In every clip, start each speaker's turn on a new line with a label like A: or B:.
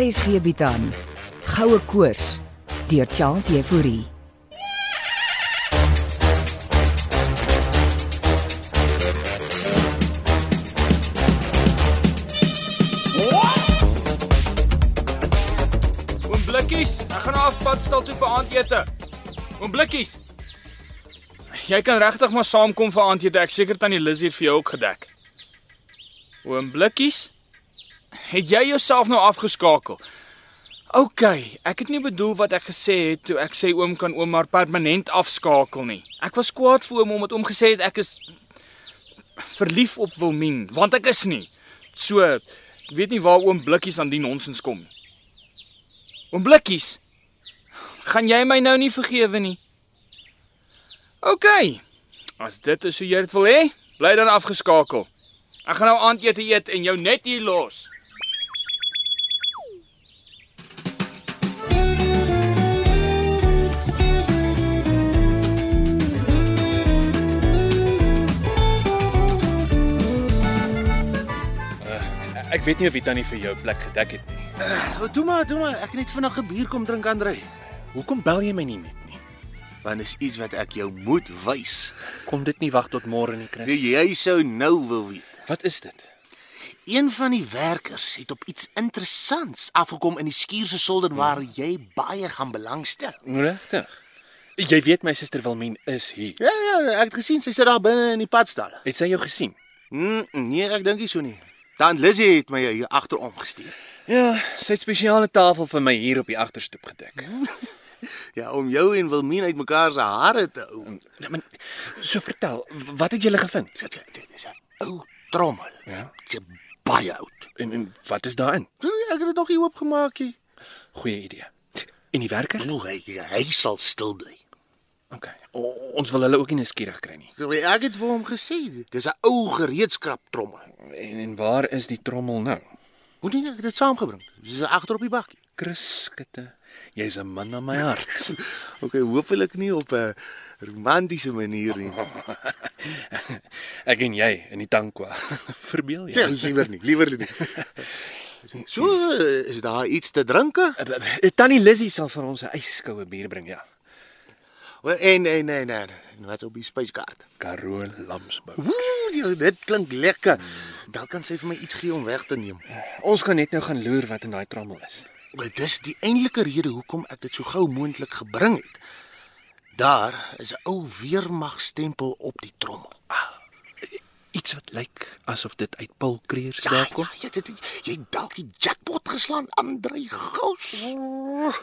A: RSG bied aan Goue Koors deur Charles Jefouri.
B: Oom Blikkies, ek gaan na afpadstal toe vir aandete. Oom Blikkies. Jy kan regtig maar saamkom vir aandete. Ek seker tannie Liz het vir jou ook gedek. Oom Blikkies, het jy jouself nou afgeskakel? OK, ek het nie bedoel wat ek gesê het toe ek sê oom kan oom maar permanent afskakel nie. Ek was kwaad vir oom omdat oom gesê het ek is verlief op Wilmien, want ek is nie. So, ek weet nie waar oom Blikkies aan die nonsens kom nie. Oom Blikkies. Gaan jy my nou nie vergewe nie? OK. As dit is hoe jy dit wil hê, bly dan afgeskakel. Ek gaan nou aandete eet en jou net hier los.
C: Eh, Ek weet nie of dit tannie vir jou plek gedek het nie.
D: Wat doen Oh, maar, doen maar. Ek het net vinnig 'n bier kom drink aan ry.
C: Hoekom bel jy my nie met nie?
D: Want is iets wat ek jou moet wys.
C: Kom dit nie wag tot môre nie, Chris.
D: Die jy sou nou wil weet.
C: Wat is dit?
D: Een van die werkers het op iets interessants afgekom in die skuur se solder waar jy baie gaan belangstel.
C: Regtig? Jy weet my suster Wilmien is hier.
D: Ja ja, ek het gesien sy sit daar binne in die padstal.
C: Het sy jou gesien?
D: Mm, nee, ek dink nie so nie. Dan Lizzie het my hier agterom gestuur.
C: Ja, sy het spesiale tafel vir my hier op die agterstoep gedek.
D: Ja, om jou en Wilmien uitmekaar se hare te hou.
C: Nou, maar so vertel, wat het julle gevind?
D: Dit dit is 'n ou trommel.
C: Ja.
D: Dit's baie oud.
C: En, en wat is daarin?
D: Ek het dit nog nie oopgemaak nie.
C: Goeie idee. En die werker?
D: Nou hy hy sal stil bly.
C: OK. O, ons wil hulle ook nie nuuskierig kry nie.
D: So, Ek het vir hom gesê, dis 'n ou gereedskap trommel.
C: En, en waar is die trommel nou?
D: Hoe dink ek het dit saamgebring? Dis agter op die bakkie.
C: Chris, skitte, jy's 'n man na my hart.
D: Okay, hopelik nie op 'n romantiese manier nie.
C: Ek en jy in die tankwa. Verbeel
D: Ja,
C: jy?
D: liewer nie, liewer nie. So eh, is daar iets te drinke?
E: Eh,
C: Tannie Lizzie sal vir ons 'n yskoue bier bring, ja.
D: En en en en en wat op die spyskaart.
C: Karoo Lamsbou.
D: Ooh, ja, dit klink lekker. Hmm. Dan kan sy vir my iets gee om weg te neem.
C: Ons gaan net nou gaan loer wat in daai trommel is.
D: Maar dis die eintlike rede hoekom ek dit so gou moontlik gebring het. Daar is 'n ou weermagstempel op die trommel.
C: Iets wat lyk asof dit uit Paul Kreer se
D: Ja,
C: werk kom.
D: ja, jy dit jy het dalk die jackpot geslaan, Andre Gous.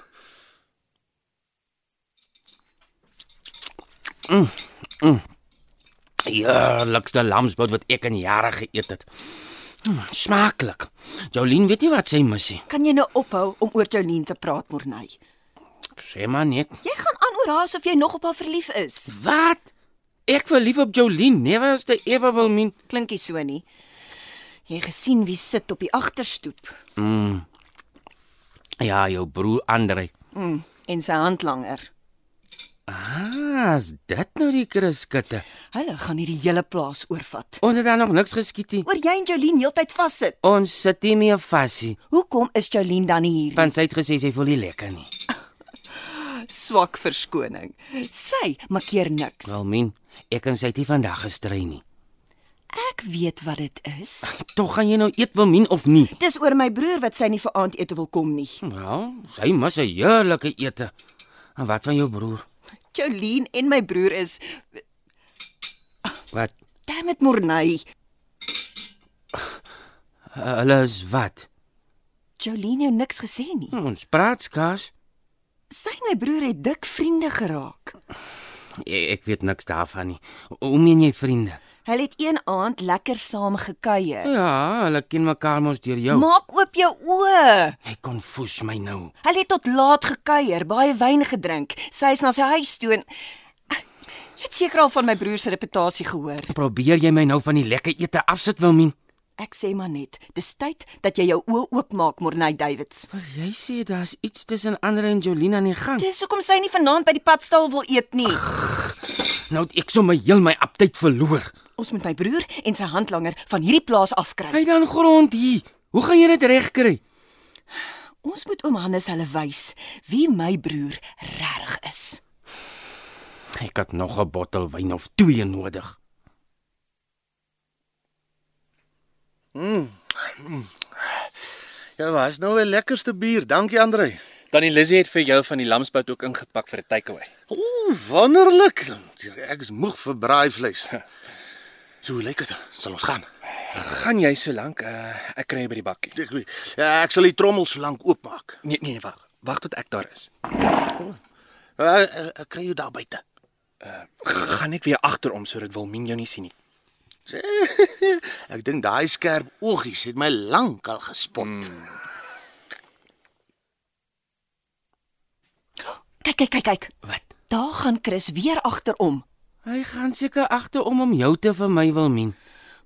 E: Heerlikste lamsbout wat ek in jare geëet het. Hm, Smaaklik. Jolien weet nie wat sy mis nie.
F: Kan jy nou ophou om oor Jolien te praat, Morney?
E: Sê maar net.
F: Jy gaan aan oor haar asof jy nog op haar verlief is.
E: Wat? Ek verlief op Jolien, never as the ever will mean.
F: Klinkie so nie. Jy gesien wie sit op die agterstoep
E: Hmm. Ja, jou broer Andre.
F: mm, en sy handlanger.
E: Ah, is dit nou die kruskutte?
F: Hulle gaan hierdie hele plaas oorvat.
E: Ons het daar nog niks geskiet nie.
F: Oor jy en Jolien heeltyd vassit.
E: Ons sit nie meer vasie,
F: Hoekom is Jolien dan nie hier?
E: want sy het gesê sy voel nie lekker nie.
F: Swak verskoning. Sy maak keer niks.
E: Wel min, ek en sy het nie vandag gestry nie.
F: Ek weet wat dit is.
E: Tog gaan jy nou eet wil min of nie?
F: Dis oor my broer wat sy nie vir aandete wil kom nie.
E: Wel, sy mis 'n heerlike ete. En wat van jou broer?
F: Jolien en my broer is
E: Wat?
F: damn it Morney.
E: Hulle is wat?
F: Jolien het niks gesê nie.
E: Ons praat skaars.
F: Sy en my broer het dik vriende geraak.
E: E, Ek, ek weet niks daarvan nie. Hoe meen jy vriende?
F: Hulle het een aand lekker saam gekuier.
E: Ja, hulle ken mekaar mos deur jou.
F: Maak oop jou oë.
E: Jy konfus my nou.
F: Hulle het tot laat gekuier, baie wyn gedrink. Sy is na sy huis toe en jy het seker al van my broer se reputasie gehoor.
E: Probeer jy my nou van die lekker ete afsit Wilmien?
F: Ek sê maar net, dis tyd dat jy jou oë oopmaak, Morney Davids.
E: Maar jy sê daar's iets tussen Andre en Jolina aan die gang.
F: Dis hoekom sy nie vanaand by die padstal wil eet nie.
E: Nou het ek sommer heel my aptyd verloor.
F: Ons moet my broer en sy handlanger van hierdie plaas afkry.
E: Hy dan grond hier. Hoe gaan jy dit regkry?
F: Ons moet oom Hannes hulle wys wie my broer regtig is.
E: Ek het nog 'n bottel wyn of twee nodig.
D: Ja, was nou 'n lekkerste bier. Dankie Andre.
C: Tannie Lizzie het vir jou van die lamsbout ook ingepak vir 'n takeaway.
D: Ooh, wonderlik. Ek is moeg vir braai vleis. So hoe lyk dit? Sal ons gaan.
C: Gaan jy so lank? Uh, ek kry by die bakkie.
D: Ek weet, ja, ek sal die trommel so lank oopmaak.
C: Nee nee, nee, wag. Wag tot ek daar is.
D: Ja, Ek, ek kry jou daar buite.
C: Gaan net weer agterom sodat Wilmien jou nie sien nie.
D: Ek dink daai skerp oogies het my lankal gespot.
F: Kyk, kyk, kyk, kyk.
E: Wat?
F: Daar gaan Chris weer agterom.
E: Hy gaan seker agter om om jou te vir my wil min.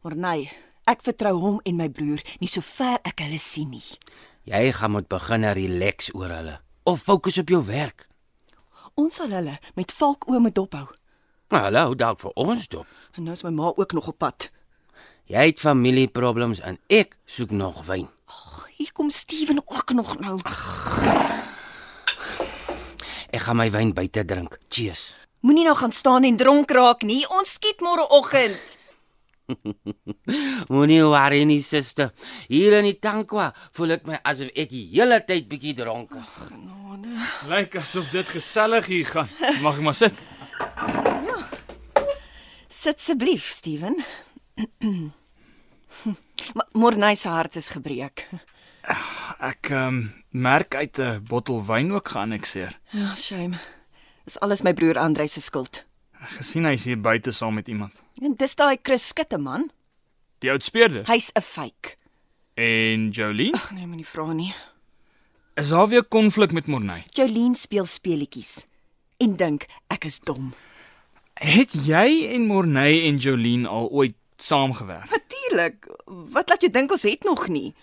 F: Maar nee, ek vertrou hom en my broer nie sover ek hulle sien nie.
E: Jy gaan moet begin relax oor hulle of fokus op jou werk.
F: Ons sal hulle met valkoë moet dophou.
E: Maar Nou, hulle hou dalk vir ons dop.
F: En nou is my ma ook nog op pad.
E: Jy het familieproblems en ek soek nog wyn.
F: Hier kom Steven ook nog nou.
E: Ek gaan my wyn buite drink. Cheers.
F: Moenie nou gaan staan en dronk raak nie. Ons skiet môreoggend.
E: Moenie worry nie, suster. Hier in die tankwa voel dit my asof ek die hele tyd bietjie dronk is.
B: Lyk asof dit gesellig hier gaan. Mag ek maar sit?
F: Sit asseblief, Steven. Maar Morney se hart is gebreek.
B: Ek ehm um, merk uit 'n bottel wyn ook geannexeer.
F: Ja, shame. Dis alles my broer Andrei se skuld.
B: Gesien hy's hier buite saam met iemand.
F: En dis daai Chris skitte man.
B: Die oud speerder.
F: Hy's 'n fake.
B: En Jolene?
F: Nee, moenie vra nie.
B: Is daar weer konflik met Morney?
F: Jolene speel speletjies en dink ek is dom.
B: Het jy en Morney en Jolene al ooit saamgewerk?
F: Natuurlik. Wat laat jou dink ons het nog nie?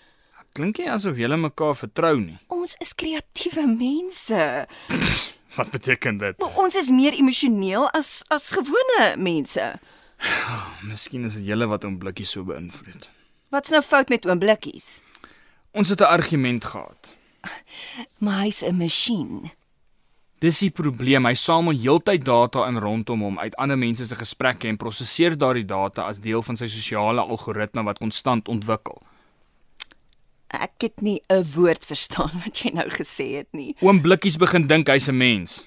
B: Klink nie asof julle mekaar vertrou nie.
F: Ons is kreatiewe mense.
B: Wat beteken dit?
F: Maar ons is meer emosioneel as as gewone mense.
B: Miskien is dit julle wat hom blikkie so beïnvloed.
F: Wat's nou fout met oom Blikkies?
B: Ons het 'n argument gehad.
F: Maar hy's 'n masjien.
B: Dis die probleem. Hy samel heeltyd data in rondom hom uit ander mense se gesprekke en prosesseer daardie data as deel van sy sosiale algoritme wat konstant ontwikkel.
F: Ek het nie 'n woord verstaan wat jy nou gesê het nie.
B: Oom Blikkies begin dink hy's 'n mens.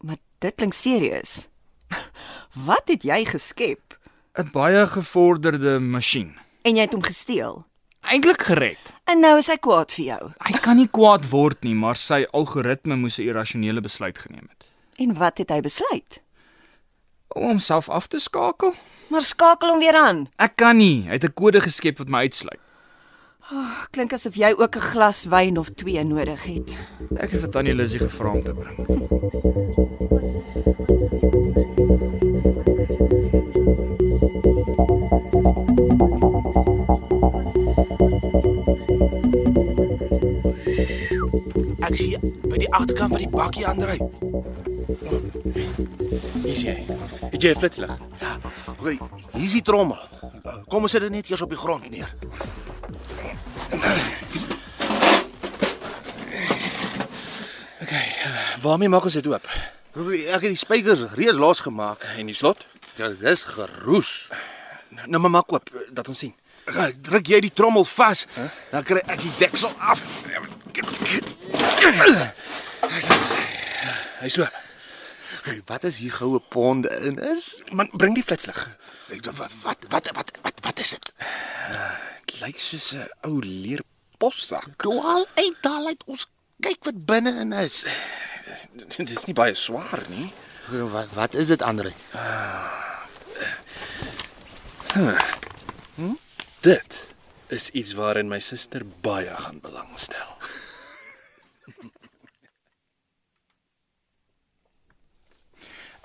F: Maar dit klink serieus. Wat het jy geskep?
B: 'n Baie gevorderde masjien.
F: En jy het hom gesteel.
B: Eintlik gered.
F: En nou is hy kwaad vir jou.
B: Hy kan nie kwaad word nie, maar sy algoritme moes 'n irrasionele besluit geneem het.
F: En wat het hy besluit?
B: Om homself af te skakel?
F: Maar skakel hom weer aan.
B: Ek kan nie. Hy het 'n kode geskep wat my uitsluit.
F: Klink asof jy ook 'n glas wyn of twee nodig het.
B: Ek het vir Tannie Lizzie gevra om te bring.
D: Ek sien by die agterkant van die bakkie Andre.
C: Hier sien jy. Het jy 'n flitslig?
D: Wait, hier is die trommel. Kom ons sit dit net eers op die grond neer.
C: Waarmee maak ons dit oop?
D: Probeer- Ek het die spykers reeds losgemaak.
C: En die slot?
D: Ja, dis geroes.
C: Nou maar maak oop eh, dat ons sien.
D: Ek Druk jy die trommel vas, dan kry ek die deksel af.
C: Hy so.
D: Hey, Wat is hier goue ponde in is?
C: Man, bring die flitslig.
D: Ek dink, Wat wat wat wat wat, wat is dit?
C: Dit lyk soos 'n ou leerpossak.
D: Dwaal uit daal uit ons kyk wat binne in is.
C: Dit is nie baie swaar nie.
D: Wat wat is dit Andre?
C: Dit is iets waarin my suster baie gaan belangstel.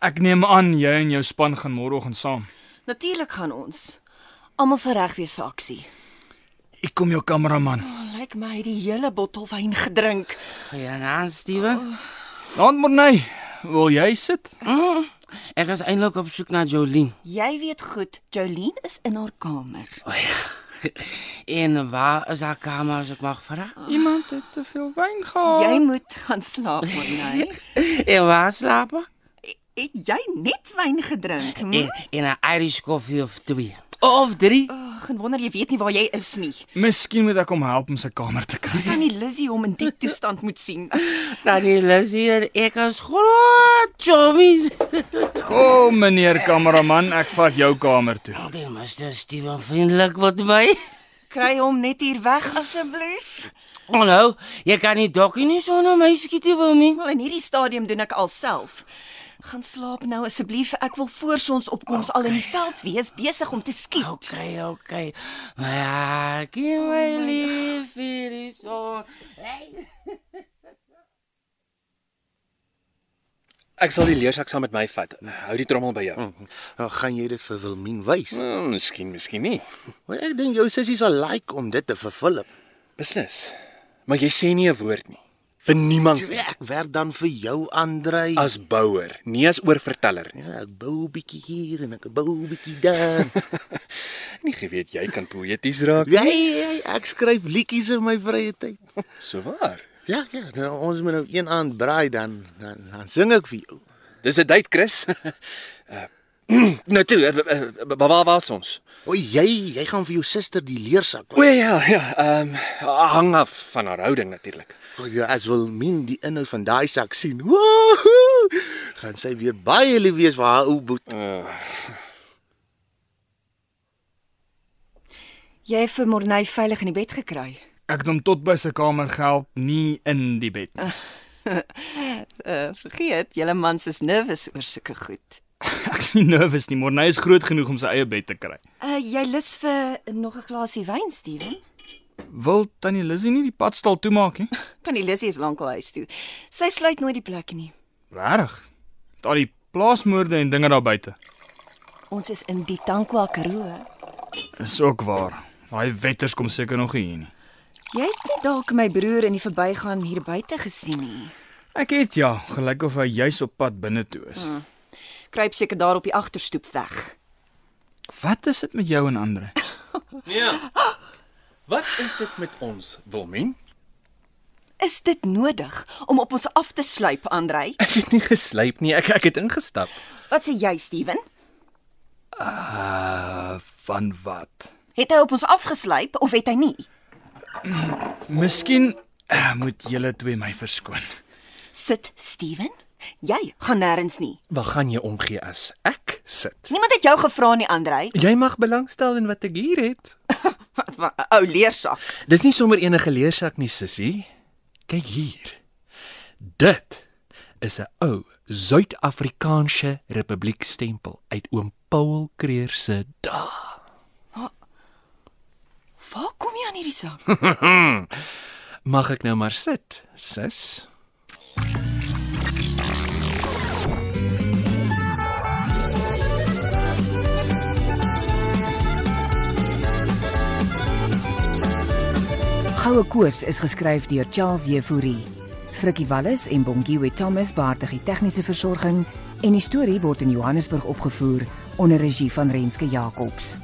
B: Ek neem aan jy en jou span gaan môreoggend saam.
F: Natuurlik gaan ons. Almal sal reg wees vir aksie.
B: Ek kom jou kameraman.
F: Oh, Lyk my hy het die hele bottel wyn gedrink.
E: Ja, nou, Steven.
B: Naand Morney, wil jy sit?
E: Ek is eintlik op soek na Jolien.
F: Jy weet goed, Jolene is in haar kamer.
E: En waar is haar kamer as ek mag vra?
B: Iemand het te veel wyn gehad.
F: Jy moet gaan slaap, Morney.
E: En waar slaap ek?
F: Het jy net wyn gedrink? Hm?
E: En, en 'n Irish koffie of twee of drie.
F: Ag, en wonder jy weet nie waar jy is nie.
B: Miskien moet ek hom help om sy kamer te kry.
F: Kan nie Lizzie hom in die toestand moet sien.
E: Dan is Oh, hier ek as groot chommies.
B: Kom meneer kameraman, ek vat jou kamer toe.
E: Al die mister Steven vriendelik met my.
F: Kry hom net hier weg asseblief.
E: Hallo, jy kan nie dokkie nie sonder my skietie wil nie.
F: Wel in hierdie stadium doen ek alself. Gaan slaap nou asseblief. Ek wil voor sonsopkoms okay. al in die veld wees besig om te skiet. Okay.
E: Okay, okay. Maar ja, gee my lief hierdie son.
C: Ek sal die leersak saam met my vat. Hou die trommel by jou.
D: Nou, gaan jy dit vir Wilmien wys?
C: Hmm, miskien, miskien nie.
D: Maar ek dink jou sussie sal like om dit te vervul.
C: Beslis. Maar jy sê nie 'n woord nie. Vir niemand nie.
D: Ek werk dan vir jou, Andrej.
C: as bouer, nie as oorverteller nie.
D: Ja, ek bou 'n bietjie hier en ek bou 'n bietjie daar.
C: Nie geweet jy kan poëties raak.
D: Ja, ja, ja, ek skryf liedjies in my vrye tyd.
C: So waar.
D: Ja, ja, nou, ons moet nou een aand braai dan dan, dan sing ek vir jou.
C: Dis 'n date, Chris. Uh, nou toe, eh, eh, eh, waar was ons?
D: O, jy, jy gaan vir jou suster die leersak.
C: O ja, ja, ehm um, hang af van haar houding natuurlik.
D: O, ja, as Wilmien die inhoud van daai sak sien, woehoe, gaan sy weer baie lief wees vir haar ou boet.
C: Eh.
F: Jy het vir Morney veilig in die bed gekry.
B: Ek het hom tot by sy kamer gehelp, nie in die bed.
F: Uh, vergeet, julle mans is nervus oor sulke goed.
B: Ek's nie nervus nie, maar hy is groot genoeg om sy eie bed te kry.
F: Uh jy lus vir nog 'n glasie wyn, Steven?
B: Wil tannie Lizzie nie die padstal toemaak nie?
F: Kan die Lizzie is lankal huis toe. Sy sluit nooit die plek nie.
B: Regtig? Met al die plaasmoorde en dinge daar buite.
F: Ons is in die Tankwa Karoo.
B: Is ook waar. Daai wetters kom seker nog hier nie.
F: Jy het nie dalk my broer in die verbygaan hier buite gesien nie.
B: Ek het ja, gelyk of hy juis op pad binne toe is.
F: Kruip seker daar op die agterstoep weg.
B: Wat is dit met jou en Andre?
C: Ja. Wat is dit met ons, Wilmien?
F: Is dit nodig om op ons af te sluip, Andrej?
C: Ek het nie geslyp nie, ek ek het ingestap.
F: Wat sê jy, Steven?
B: Uh, van wat?
F: Het hy op ons afgesluip of het hy nie?
B: Miskien uh, moet julle twee my verskoon.
F: Sit, Steven. Jy gaan nêrens nie.
C: Wat gaan jy omgee as ek sit?
F: Niemand het jou gevra nie, Andrej.
C: Jy mag belangstel in wat ek hier het.
F: Wat 'n ou leersak.
C: Dis nie sommer enige leersak nie, sussie. Kyk hier. Dit is 'n ou Suid-Afrikaanse Republiek stempel uit oom Paul Kreer se dae.
F: Waar kom jy aan hierdie sak?
C: Mag ek nou maar sit, sis?
A: Goue Koors is geskryf deur Charles Jefouri. Frikkie Wallis en Bongiwe Thomas baartig die tegniese versorging en die storie word in Johannesburg opgevoer onder regie van Renske Jacobs.